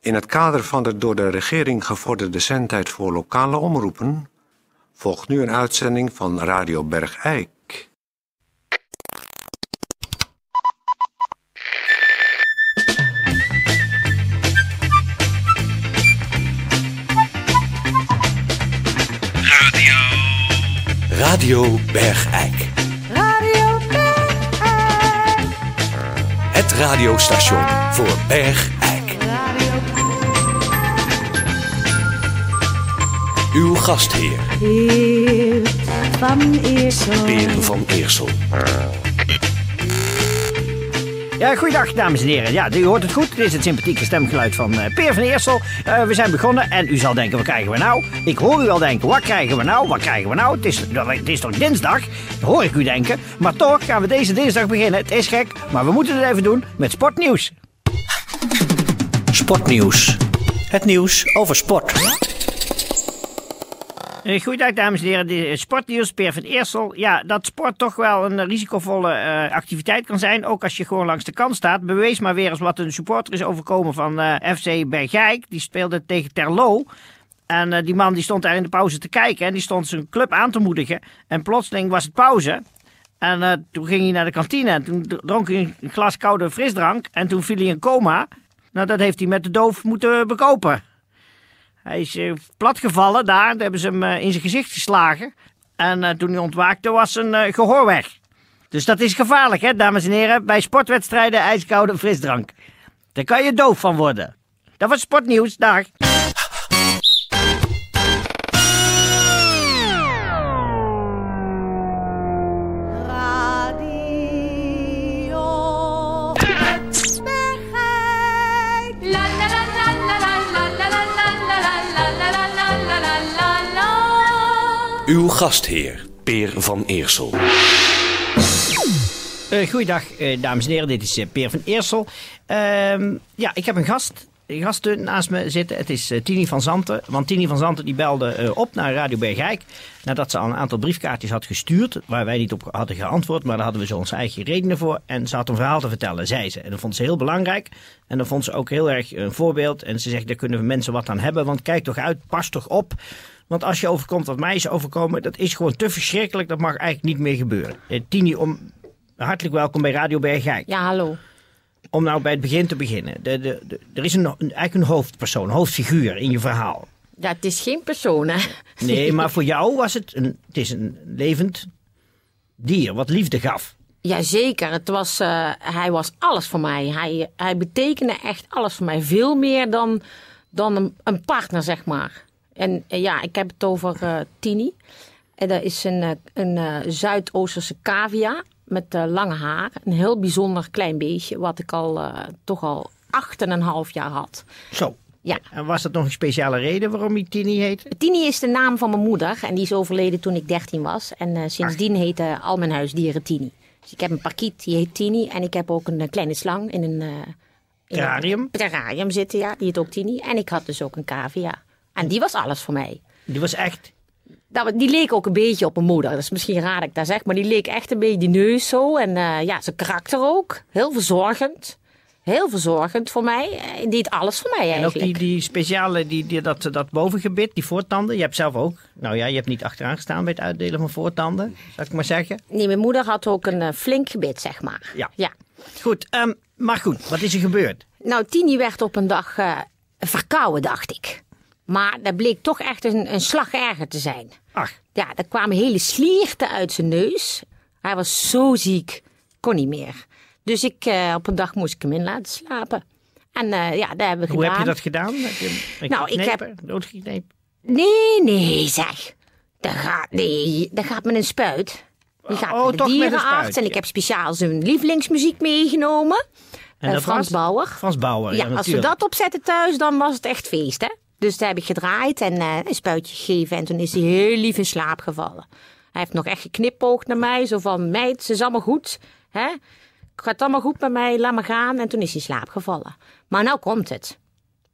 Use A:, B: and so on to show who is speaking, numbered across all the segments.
A: In het kader van de door de regering gevorderde zendtijd voor lokale omroepen volgt nu een uitzending van Radio Bergijk.
B: Radio Bergijk.
C: Radio Bergijk.
B: Het radiostation voor Bergijk. Uw gastheer,
C: Heer van Eersel.
B: Peer van Eersel.
D: Ja, goeiedag dames en heren. Ja, u hoort het goed. Dit is het sympathieke stemgeluid van eh, Peer van Eersel. Eh, we zijn begonnen en u zal denken, wat krijgen we nou? Ik hoor u al denken, wat krijgen we nou? Wat krijgen we nou? Het is, het is toch dinsdag? Dat hoor ik u denken. Maar toch gaan we deze dinsdag beginnen. Het is gek, maar we moeten het even doen met sportnieuws.
B: Sportnieuws. Het nieuws over sport.
D: Eh, Goeiedag dames en heren, Dit is sportnieuws, Peer van Eersel. Ja, dat sport toch wel een eh, risicovolle eh, activiteit kan zijn, ook als je gewoon langs de kant staat. Bewees maar weer eens wat een supporter is overkomen van eh, FC Bergijk. Die speelde tegen Terlo. En eh, die man die stond daar in de pauze te kijken en die stond zijn club aan te moedigen. En plotseling was het pauze. En eh, toen ging hij naar de kantine en toen dronk hij een glas koude frisdrank. En toen viel hij in coma. Nou, dat heeft hij met de doof moeten bekopen. Hij is eh, platgevallen daar. Daar hebben ze hem eh, in zijn gezicht geslagen. En eh, toen hij ontwaakte was zijn eh, gehoor weg. Dus dat is gevaarlijk, hè, dames en heren. Bij sportwedstrijden ijskoude frisdrank. Daar kan je doof van worden. Dat was sportnieuws. Dag.
C: Radio Bergijk.
E: La la la la la la la la la la la la la la la la la la la.
B: Uw gastheer, Peer van Eersel.
D: Eh goeiedag, eh, dames en heren. Dit is eh, Peer van Eersel. Ehm, ja, ik heb een gast. Een gast eh, naast me zitten. Het is eh, Tini van Zanten. Want Tini van Zanten die belde eh, op naar Radio Bergijk. Nadat ze al een aantal briefkaartjes had gestuurd. Waar wij niet op hadden geantwoord. Maar daar hadden we zo onze eigen redenen voor. En ze had een verhaal te vertellen, zei ze. En dat vond ze heel belangrijk. En dat vond ze ook heel erg een voorbeeld. En ze zegt, daar kunnen mensen wat aan hebben. Want kijk toch uit, pas toch op. Want als je overkomt wat mij is overkomen, dat is gewoon te verschrikkelijk. Dat mag eigenlijk niet meer gebeuren. Eh, Tini, om Hartelijk welkom bij Radio Bergijk.
F: Ja, hallo.
D: Om nou bij het begin te beginnen. De, de, de- er is een, een- eigenlijk een hoofdpersoon, een hoofdfiguur in je verhaal.
F: Ja, het is geen persoon, hè?
D: Nee, maar voor jou was het een, het is een levend dier wat liefde gaf.
F: Jazeker, het was, eh, hij was alles voor mij. Hij, hij betekende echt alles voor mij. Veel meer dan, dan een, een partner, zeg maar. En eh, ja, ik heb het over eh, Tini. En dat is een, eh, een eh, Zuidoosterse cavia met eh, lange haar. Een heel bijzonder klein beestje, wat ik al eh, toch al acht en een half jaar had.
D: Zo.
F: Ja.
D: En was dat nog een speciale reden waarom hij Tini heette?
F: Tini is de naam van mijn moeder en die is overleden toen ik 13 was. En eh, sindsdien
D: Ah.
F: heten al mijn huisdieren Tini. Dus ik heb een parkiet, die heet Tini. En ik heb ook een eh, kleine slang in een, eh, in
D: Terrarium?
F: een terrarium zitten, ja. Die heet ook Tini. En ik had dus ook een cavia. En die was alles voor mij.
D: Die was echt...
F: Nou, die leek ook een beetje op mijn moeder. Dat is misschien raar dat ik dat zeg, maar die leek echt een beetje die neus zo. En eh, ja, zijn karakter ook. Heel verzorgend. Heel verzorgend voor mij. Eh, Die deed alles voor mij
D: En ook
F: eigenlijk.
D: die, die speciale, die, die, dat, dat bovengebit, die voortanden. Je hebt zelf ook... Nou ja, je hebt niet achteraan gestaan bij het uitdelen van voortanden. Zou ik maar zeggen.
F: Nee, mijn moeder had ook een eh, flink gebit, zeg maar.
D: Ja.
F: ja.
D: Goed, ehm, maar goed. Wat is er gebeurd?
F: Nou, Tini werd op een dag eh, verkouden, dacht ik. Maar dat bleek toch echt een, een slag erger te zijn.
D: Ach,
F: Ja, er kwamen hele slierten uit zijn neus. Hij was zo ziek, kon niet meer. Dus ik, eh, op een dag moest ik hem in laten slapen. En eh, ja, dat hebben we
D: Hoe
F: gedaan.
D: heb je dat gedaan? Heb je hem een
F: Nou, ik heb-
D: geknepen? Doodgeknepen?
F: Nee, nee, zeg. Dat gaat, nee, dat gaat met een spuit. Die gaat
D: Oh,
F: naar de
D: toch met een
F: dierenarts.
D: spuit,
F: en
D: ja.
F: ik heb speciaal zijn lievelingsmuziek meegenomen.
D: En
F: Eh,
D: dat
F: Frans
D: was?
F: Bauer.
D: Frans Bauer, Oh, ja,
F: Ja, als we
D: natuurlijk.
F: dat opzetten thuis, dan was het echt feest, hè? Dus daar heb ik gedraaid en eh, een spuitje gegeven. En toen is hij heel lief in slaap gevallen. Hij heeft nog echt geknippoogd naar mij. Zo van, meid, ze is allemaal goed. Hè? Gaat allemaal goed met mij, laat maar gaan. En toen is hij in slaap gevallen. Maar nou komt het.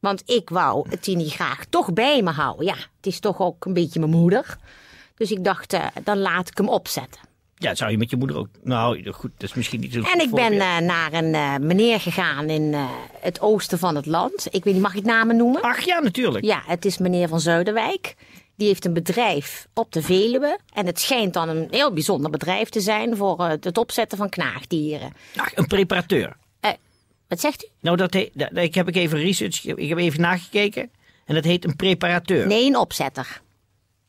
F: Want ik wou het Tini graag toch bij me houden. Ja, het is toch ook een beetje mijn moeder. Dus ik dacht, eh, dan laat ik hem opzetten.
D: Ja, dat zou je met je moeder ook. Nou, goed, dat is misschien niet zo.
F: En ik ben eh, naar een eh, meneer gegaan in eh, het oosten van het land. Ik weet niet, mag ik namen noemen?
D: Ach ja, natuurlijk.
F: Ja, het is meneer van Zuiderwijk. Die heeft een bedrijf op de Veluwe. En het schijnt dan een heel bijzonder bedrijf te zijn voor eh, het opzetten van knaagdieren.
D: Ach, een preparateur.
F: Eh, wat zegt u?
D: Nou, dat he- dat- ik heb ik even research. Ik heb even nagekeken. En dat heet een preparateur.
F: Nee, een opzetter.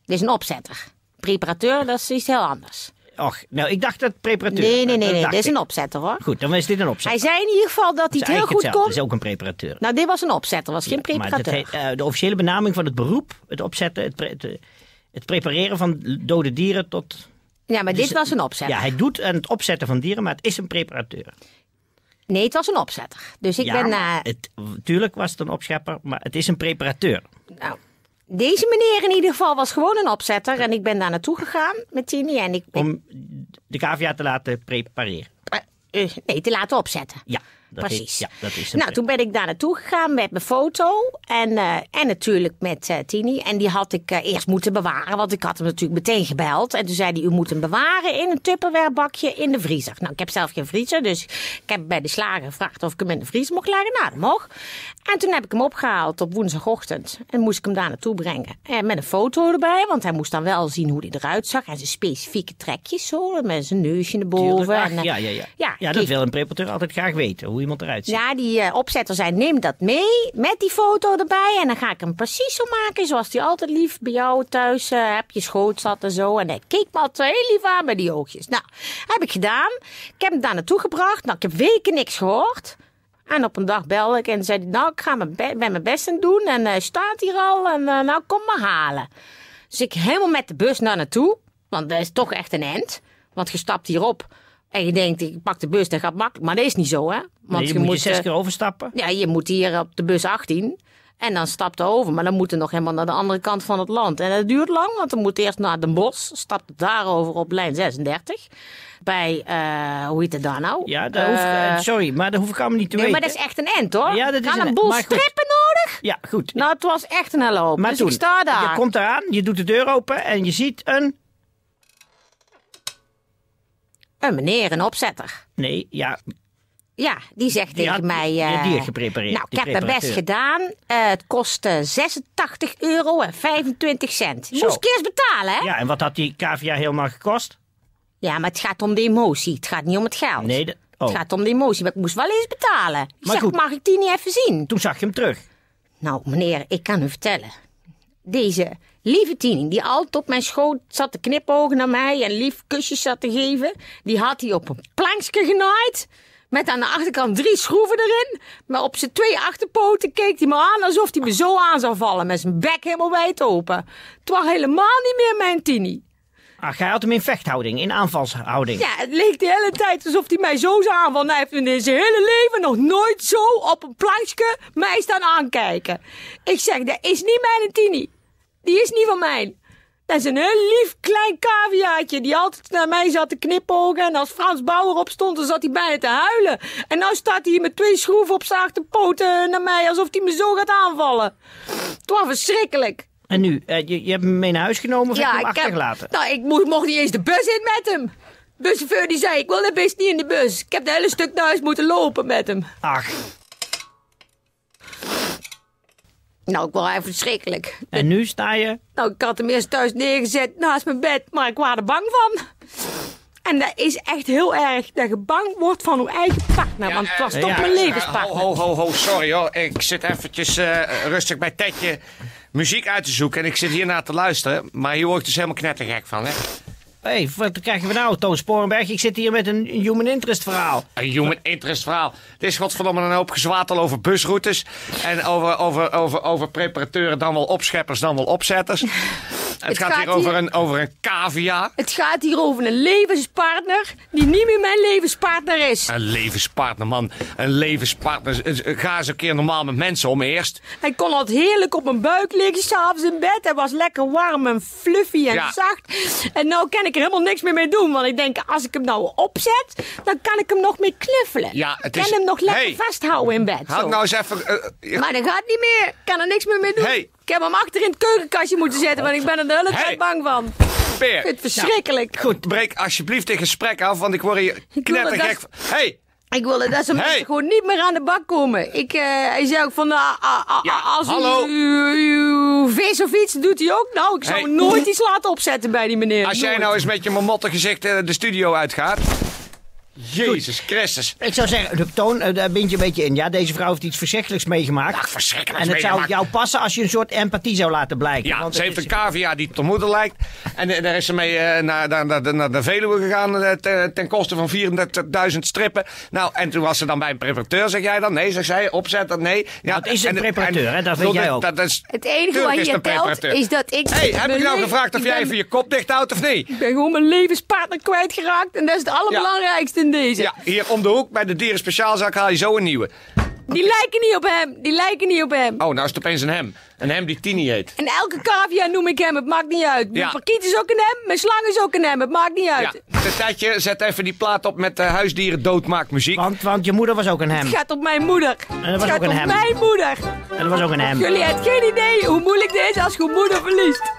F: Dit is een opzetter. Preparateur, dat is iets heel anders.
D: Och, nou, ik dacht dat preparateur.
F: Nee, nee, nee,
D: Dat
F: nee.
D: dacht
F: Dit is een
D: ik.
F: opzetter hoor.
D: Goed, dan is dit een opzet.
F: Hij zei in ieder geval dat hij
D: Dat
F: het
D: is
F: heel
D: eigenlijk
F: goed
D: hetzelfde.
F: kon.
D: Dat is ook een preparateur.
F: Nou, dit was een opzetter, was geen
D: Maar dat
F: preparateur.
D: heet, eh, de officiële benaming van het beroep, het opzetten, het, pre- het, eh, het prepareren van dode dieren tot...
F: Ja, maar dit was een opzetter.
D: eh, dus Ja, hij doet aan het opzetten van dieren, maar het is een preparateur.
F: Nee, het was een opzetter. Dus ik
D: ja,
F: ben... eh,
D: het, tuurlijk was het een opschepper, maar het is een preparateur.
F: Nou, deze meneer in ieder geval was gewoon een opzetter. En ik ben daar naartoe gegaan met Tini. En ik, ik-
D: Om de cavia te laten prepareren.
F: eh, nee, te laten opzetten.
D: Ja, dat
F: Precies.
D: Heet, ja, dat is een
F: nou,
D: pre-
F: toen ben ik daar naartoe gegaan met mijn foto. En, eh, en natuurlijk met eh, Tini. En die had ik eh, eerst moeten bewaren. Want ik had hem natuurlijk meteen gebeld. En toen zei hij, u moet hem bewaren in een Tupperware bakje in de vriezer. Nou, ik heb zelf geen vriezer. Dus ik heb bij de slager gevraagd of ik hem in de vriezer mocht leggen. Nou, dat mocht. En toen heb ik hem opgehaald op woensdagochtend. En moest ik hem daar naartoe brengen. En met een foto erbij. Want hij moest dan wel zien hoe hij eruit zag. En zijn specifieke trekjes zo. Met zijn neusje naar boven.
D: Tuurlijk.
F: en,
D: Ach,
F: eh,
D: ja, ja, ja.
F: Ja,
D: ja, dat
F: kijk.
D: wil een preparateur altijd graag weten, hoe iemand eruit ziet.
F: Ja, die eh, opzetter zei, neem dat mee met die foto erbij. En dan ga ik hem precies zo maken zoals die altijd lief bij jou thuis eh, heb je schoot zat en zo. En hij keek me altijd heel lief aan met die oogjes. Nou, heb ik gedaan. Ik heb hem daar naartoe gebracht. Nou, ik heb weken niks gehoord. En op een dag belde ik en zei hij, nou, ik ga mijn, be- ben mijn best aan het doen. En hij staat hier al en eh, nou, kom maar halen. Dus ik helemaal met de bus naar naartoe. Want dat is toch echt een end. Want je stapt hierop en je denkt, ik pak de bus, dat gaat makkelijk. Maar dat is niet zo, hè? Want
D: Nee, je moet je zes
F: eh,
D: keer overstappen.
F: ja, je moet hier op de bus 18. En dan stapt er over. Maar dan moet er nog helemaal naar de andere kant van het land. En dat duurt lang, want dan moet eerst naar Den Bosch. Stapt het daarover op lijn 36. Bij, eh, hoe heet het daar nou?
D: Ja, dat
F: Eh,
D: hoef, eh, sorry, maar dat hoef ik allemaal niet te
F: nee,
D: weten.
F: maar dat is echt een end, hoor.
D: Ja, dat is
F: Gaan
D: een
F: een
D: end,
F: boel
D: maar goed.
F: strippen nodig?
D: Ja, goed.
F: Nou, het was echt een hele hoop.
D: maar
F: dus
D: toen,
F: ik sta daar.
D: je komt eraan, je doet de deur open en je ziet een...
F: Een meneer, een opzetter.
D: Nee, ja,
F: Ja, die zegt tegen
D: had-
F: mij...
D: die had
F: eh,
D: dier geprepareerd,
F: Nou, ik
D: die
F: heb mijn best
D: preparateur.
F: gedaan. Eh, het kostte 86 euro en 25 cent.
D: Zo.
F: Moest ik eerst betalen, hè?
D: ja, en wat had die cavia helemaal gekost?
F: Ja, maar het gaat om de emotie. Het gaat niet om het geld.
D: Nee, dat- oh.
F: Het gaat om de emotie. Maar ik moest wel eens betalen. Ik
D: Maar
F: zeg,
D: goed.
F: mag ik die niet even zien?
D: Toen zag je hem terug.
F: Nou, meneer, ik kan u vertellen. Deze lieve Tini, die altijd op mijn schoot zat te knipogen naar mij en lief kusjes zat te geven, die had hij op een plankje genaaid. Met aan de achterkant drie schroeven erin. Maar op zijn twee achterpoten keek hij me aan alsof hij me zo aan zou vallen. Met zijn bek helemaal wijd open. Het was helemaal niet meer mijn Tini.
D: Ach, hij had hem in vechthouding, in aanvalshouding.
F: Ja, het leek de hele tijd alsof hij mij zo zou aanvallen. Hij heeft in zijn hele leven nog nooit zo op een plankje mij staan aankijken. Ik zeg, dat is niet mijn Tini. Die is niet van mij. Dat is een heel lief klein caviaatje die altijd naar mij zat te knipogen. En als Frans Bauer opstond, dan zat hij bijna te huilen. En nou staat hij hier met twee schroeven op zijn achterpoten naar mij alsof hij me zo gaat aanvallen. Het was verschrikkelijk.
D: En nu, eh, je, je hebt hem mee naar huis genomen of heb je hem achtergelaten?
F: nou, ik mo- mocht niet eens de bus in met hem. Buschauffeur die zei, ik wil dat best niet in de bus. Ik heb het hele stuk naar huis moeten lopen met hem.
D: Ach,
F: Nou, ik was echt verschrikkelijk.
D: en nu sta je...
F: Nou, ik had hem eerst thuis neergezet naast mijn bed, maar ik was er bang van. En dat is echt heel erg, dat je bang wordt van uw eigen partner. want het was
G: eh,
F: toch
D: ja.
F: mijn
G: Eh,
F: levenspartner.
G: ho, ho, ho, ho, sorry hoor. Ik zit eventjes eh, rustig bij Tedje muziek uit te zoeken. En ik zit hiernaar te luisteren. Maar hier word ik dus helemaal knettergek van, hè?
D: Hé, hey, wat krijgen we nou, Toon Sporenberg? Ik zit hier met een human interest verhaal.
G: Een human interest verhaal. Dit is godverdomme een hoop gezwatel over busroutes. En over, over, over, over preparatoren, dan wel opscheppers, dan wel opzetters. Het, gaat,
F: gaat
G: hier over
F: hier-
G: een, over een cavia.
F: Het gaat hier over een levenspartner die niet meer mijn levenspartner is.
G: Een levenspartner, man. Een levenspartner. Ga eens een keer normaal met mensen om eerst.
F: Hij kon altijd heerlijk op mijn buik liggen, s'avonds in bed. Hij was lekker warm en fluffy en
G: Ja.
F: zacht. En nou kan ik er helemaal niks meer mee doen. Want ik denk, als ik hem nou opzet, dan kan ik hem nog mee knuffelen.
G: Ja, het
F: ik kan
G: is-
F: hem nog lekker
G: Hey.
F: vasthouden in bed. zo.
G: Houd nou eens even... eh, eh,
F: Maar dat gaat niet meer. Ik kan er niks meer mee doen.
G: Hey.
F: Ik heb hem achter in het keukenkastje moeten zetten, want ik ben er de hele tijd
G: Hey.
F: bang van.
G: Peer.
F: vind Ah, het verschrikkelijk. Goed.
G: Breek alsjeblieft dit gesprek af, want ik word hier
F: wil
G: knettergek.
F: dat-
G: van. Hey,
F: Ik wilde dat ze mensen
G: Hey.
F: gewoon niet meer aan de bak komen. Ik, eh, hij zei ook van, ah, ah, ah,
G: Ja,
F: als u-
G: hallo.
F: u, uw vis of iets doet hij ook. Nou, ik zou
G: Hey.
F: nooit iets laten opzetten bij die meneer.
G: als jij
F: Nooit.
G: nou eens met je mamotte gezicht eh, de studio uitgaat. Jezus Christus.
D: Ik zou zeggen, de toon, eh, daar bind je een beetje in. Ja, deze vrouw heeft iets verschrikkelijks meegemaakt.
G: Ach, verschrikkelijk.
D: en het zou jou passen als je een soort empathie zou laten blijken.
G: Ja,
D: want
G: ze
D: het
G: heeft
D: is-
G: een cavia die op de moeder lijkt. En eh, daar is ze mee eh, naar, naar, naar, naar de Veluwe gegaan eh, te- ten koste van 34.000 strippen. Nou, en toen was ze dan bij een preparateur, zeg jij dan? Nee, zegt zij, opzetter, nee. Ja,
D: Wat Nou, is een
G: en-
D: preparateur,
G: en-
D: hè? Dat weet
G: bedoel,
D: jij ook.
G: Dat, dat is,
F: Het enige
G: Tuurlijk
F: wat
G: is het
F: hier
G: een
F: telt
G: preparateur.
F: is dat ik...
G: hey, heb
F: mijn
G: ik nou
F: le-
G: gehoudt of
F: ik
G: jij
F: ben-
G: even je kop dicht houdt of niet?
F: Ik ben gewoon mijn levenspartner kwijtgeraakt. En dat is het allerbelangrijkste in deze.
G: Ja, hier om de hoek bij de dieren speciaalzaak haal je zo een nieuwe.
F: Die lijken niet op hem. Die lijken niet op hem.
G: Oh, nou is het opeens een hem. Een hem die Tini heet.
F: En elke cavia noem ik hem. Het maakt niet uit. Mijn
G: Ja.
F: parkiet is ook een hem. Mijn slang is ook een hem. Het maakt niet
G: Ja,
F: uit.
G: een tijdje zet even die plaat op met eh, huisdieren doodmaakt muziek.
D: Want, want je moeder was ook een hem.
F: Het gaat op mijn moeder.
D: was
F: Het gaat
D: ook een
F: op
D: hem.
F: mijn moeder.
D: En dat was ook een hem.
F: Jullie hebben geen idee hoe moeilijk dit is als je moeder verliest.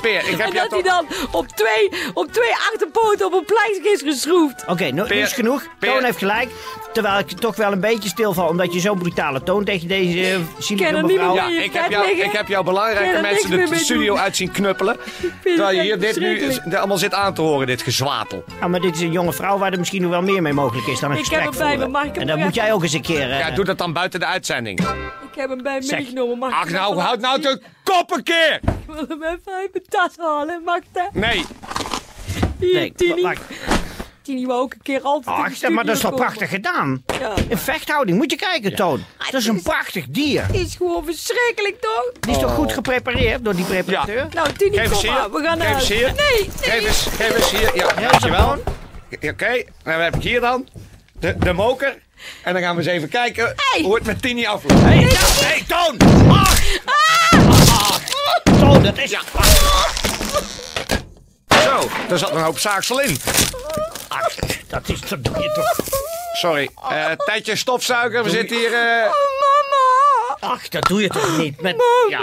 G: Peer, ik heb
F: en
G: jou
F: dat hij
G: toch...
F: dan op twee, op twee achterpoten op een pleistje is geschroefd.
D: Oké, nu, nu
G: Peer,
D: is genoeg.
G: Peer.
D: Toon heeft gelijk. Terwijl ik toch wel een beetje stilval, omdat je zo'n brutale toon tegen deze eh,
F: ken
D: zielige
F: er niemand
D: mevrouw...
G: Ja,
F: in je
G: ik
F: bed
G: heb, jou,
F: liggen.
G: ik heb jou
F: Kun
G: belangrijke
F: je daar niks
G: mensen
F: meer
G: de
F: mee
G: studio
F: doen?
G: uit zien knuppelen. Terwijl je hier dit nu
F: verschrikkelijk.
G: dit allemaal zit aan te horen, dit gezwatel.
D: Ja, maar dit is een jonge vrouw waar er misschien nog wel meer mee mogelijk is dan een
F: Ik heb
D: gesprek
F: hem bij me,
D: voeren.
F: mag ik hem
D: En dat moet
F: krijgen?
D: jij ook eens een keer... eh,
G: Ja, doe dat dan buiten de uitzending.
F: Ik heb hem bij me
D: Zeg.
F: meegenomen. Mag ik
G: Ach
F: hem
G: nou,
F: even
G: houd nou
F: laten zien?
G: de kop een keer!
F: Ik wil hem even uit mijn tas halen. Mag dat?
G: Nee,
F: Hier,
D: nee,
F: Tini.
D: wacht.
F: Tini wou ook een keer altijd in
D: Ach,
F: de
D: zeg, maar dat is toch
F: studio
D: prachtig gedaan?
F: Ja.
D: In vechthouding, moet je kijken, Toon. Dat is een
F: Ah, is-
D: prachtig dier.
F: komen. is gewoon verschrikkelijk, toch?
D: Die is toch goed geprepareerd door die preparateur?
G: Oh. Ja.
F: Nou, Tini,
G: geef eens
F: kom
G: hier.
F: maar. We gaan naar
G: Geef eens
F: huis.
G: hier.
F: Nee, nee.
G: Geef eens, geef eens hier. Ja,
D: Heel
G: dankjewel.
D: gewoon.
G: Oké, dan heb ik hier dan de, de moker. En dan gaan we eens even kijken
F: Hey.
G: hoe het met Tini afloopt. Hé, hey, hey, Toon! Ach!
D: Toon, dat is...
G: Zo, daar zat een hoop zaagsel in.
D: Ach, dat is... Dat doe je toch...
G: Sorry,
D: Oh.
G: eh tijdje stofzuiger. We zitten hier...
F: Oh,
G: eh,
F: mama. Oh,
D: Ach, dat doe je toch niet met...
G: ja,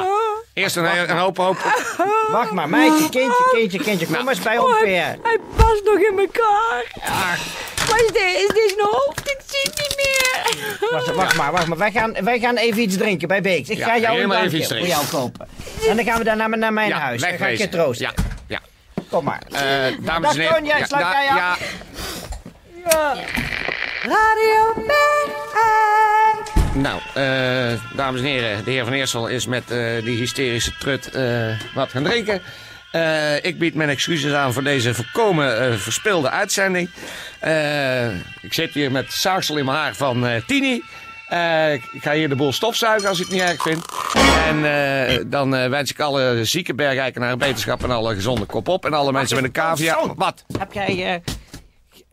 G: eerst een, een hoop, hoop
D: Wacht maar, meisje, kindje, kindje, kindje. Kom eens bij ons
F: Oh,
D: weer.
F: hij, hij past nog in elkaar. Wat is dit? Is dus dit zijn hoofd? Ik zie het niet meer.
D: Wacht, wacht maar, wacht maar. Wij gaan, wij gaan even iets drinken bij Beeks. Ik
G: Ja,
D: ga jou
G: helemaal
D: een
G: even
D: drankje
G: iets
D: voor
G: drinken.
D: jou kopen. En dan gaan we daarna naar mijn huis. Dan ga ik je
G: wegwezen.
D: troosten.
G: Ja, ja.
D: Kom maar.
G: Eh, dames
D: Dag,
G: en heren.
D: Toon, jij
G: Ja,
D: sluit
G: da-
D: jij af?
G: ja,
C: Radio Berg.
G: nou, eh, dames en heren. De heer Van Eersel is met eh, die hysterische trut eh, wat gaan drinken. Eh, ik bied mijn excuses aan voor deze voorkomen eh, verspilde uitzending. Eh, ik zit hier met zaagsel in mijn haar van eh, Tini. Eh, ik ik ga hier de boel stofzuigen als ik het niet erg vind. En eh, dan eh, wens ik alle zieke bergrijkenaren beterschap en alle gezonde kop op. En alle mensen met een cavia.
D: Toon.
G: Wat?
D: Heb jij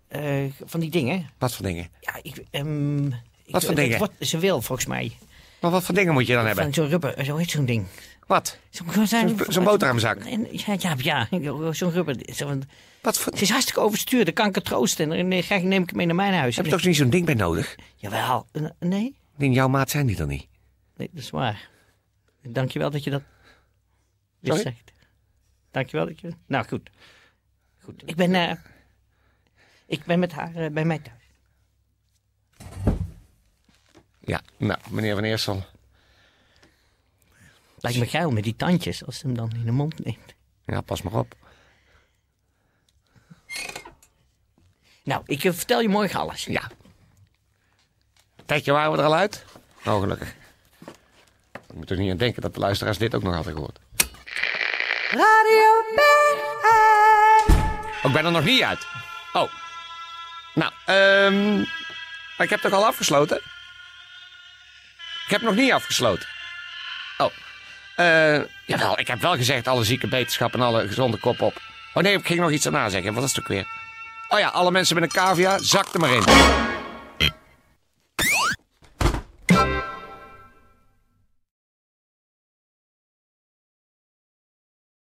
D: eh, eh, van die dingen?
G: Wat voor dingen?
D: Ja, ik... ehm, ik-
G: Wat voor
D: het
G: dingen?
D: wordt- ze wil, volgens mij.
G: Maar wat voor dingen moet je dan hebben?
D: Van zo'n rubber, zo heet zo'n ding.
G: Wat?
D: Zo'n
G: Zo'n- zo'n boterhamzak.
D: Ja, ja, ja, zo'n rubber. Zo'n-
G: Wat voor...
D: Ze is hartstikke overstuurd, dan kan ik het troosten. En dan eh, ga ik- neem ik hem mee naar mijn huis.
G: Heb je toch niet zo'n ding bij nodig?
D: Jawel. N- Nee?
G: In jouw maat zijn die dan niet.
D: Nee, dat is waar. Dankjewel dat je dat weer
G: Sorry?
D: zegt. Dankjewel dat je... Nou, goed. Goed. Ik ben, eh, ik ben met haar eh, bij mij thuis.
G: Ja, nou, meneer Van Eersel.
D: Lijkt me geil met die tandjes, als ze hem dan in de mond neemt.
G: Ja, pas maar op.
D: Nou, ik eh, vertel je morgen alles.
G: Ja. Tijdje waren we er al uit? Oh, gelukkig. Ik moet er niet aan denken dat de luisteraars dit ook nog hadden gehoord.
C: Radio Berg.
G: Oh, ik ben er nog niet uit. Oh. Nou, ehm... maar ik heb toch al afgesloten? Ik heb nog niet afgesloten. Oh. Eh jawel, ik heb wel gezegd alle zieke beterschap en alle gezonde kop op. Oh nee, ik ging nog iets daarna zeggen. Wat is het ook weer? Oh ja, alle mensen met een cavia, zak er maar in.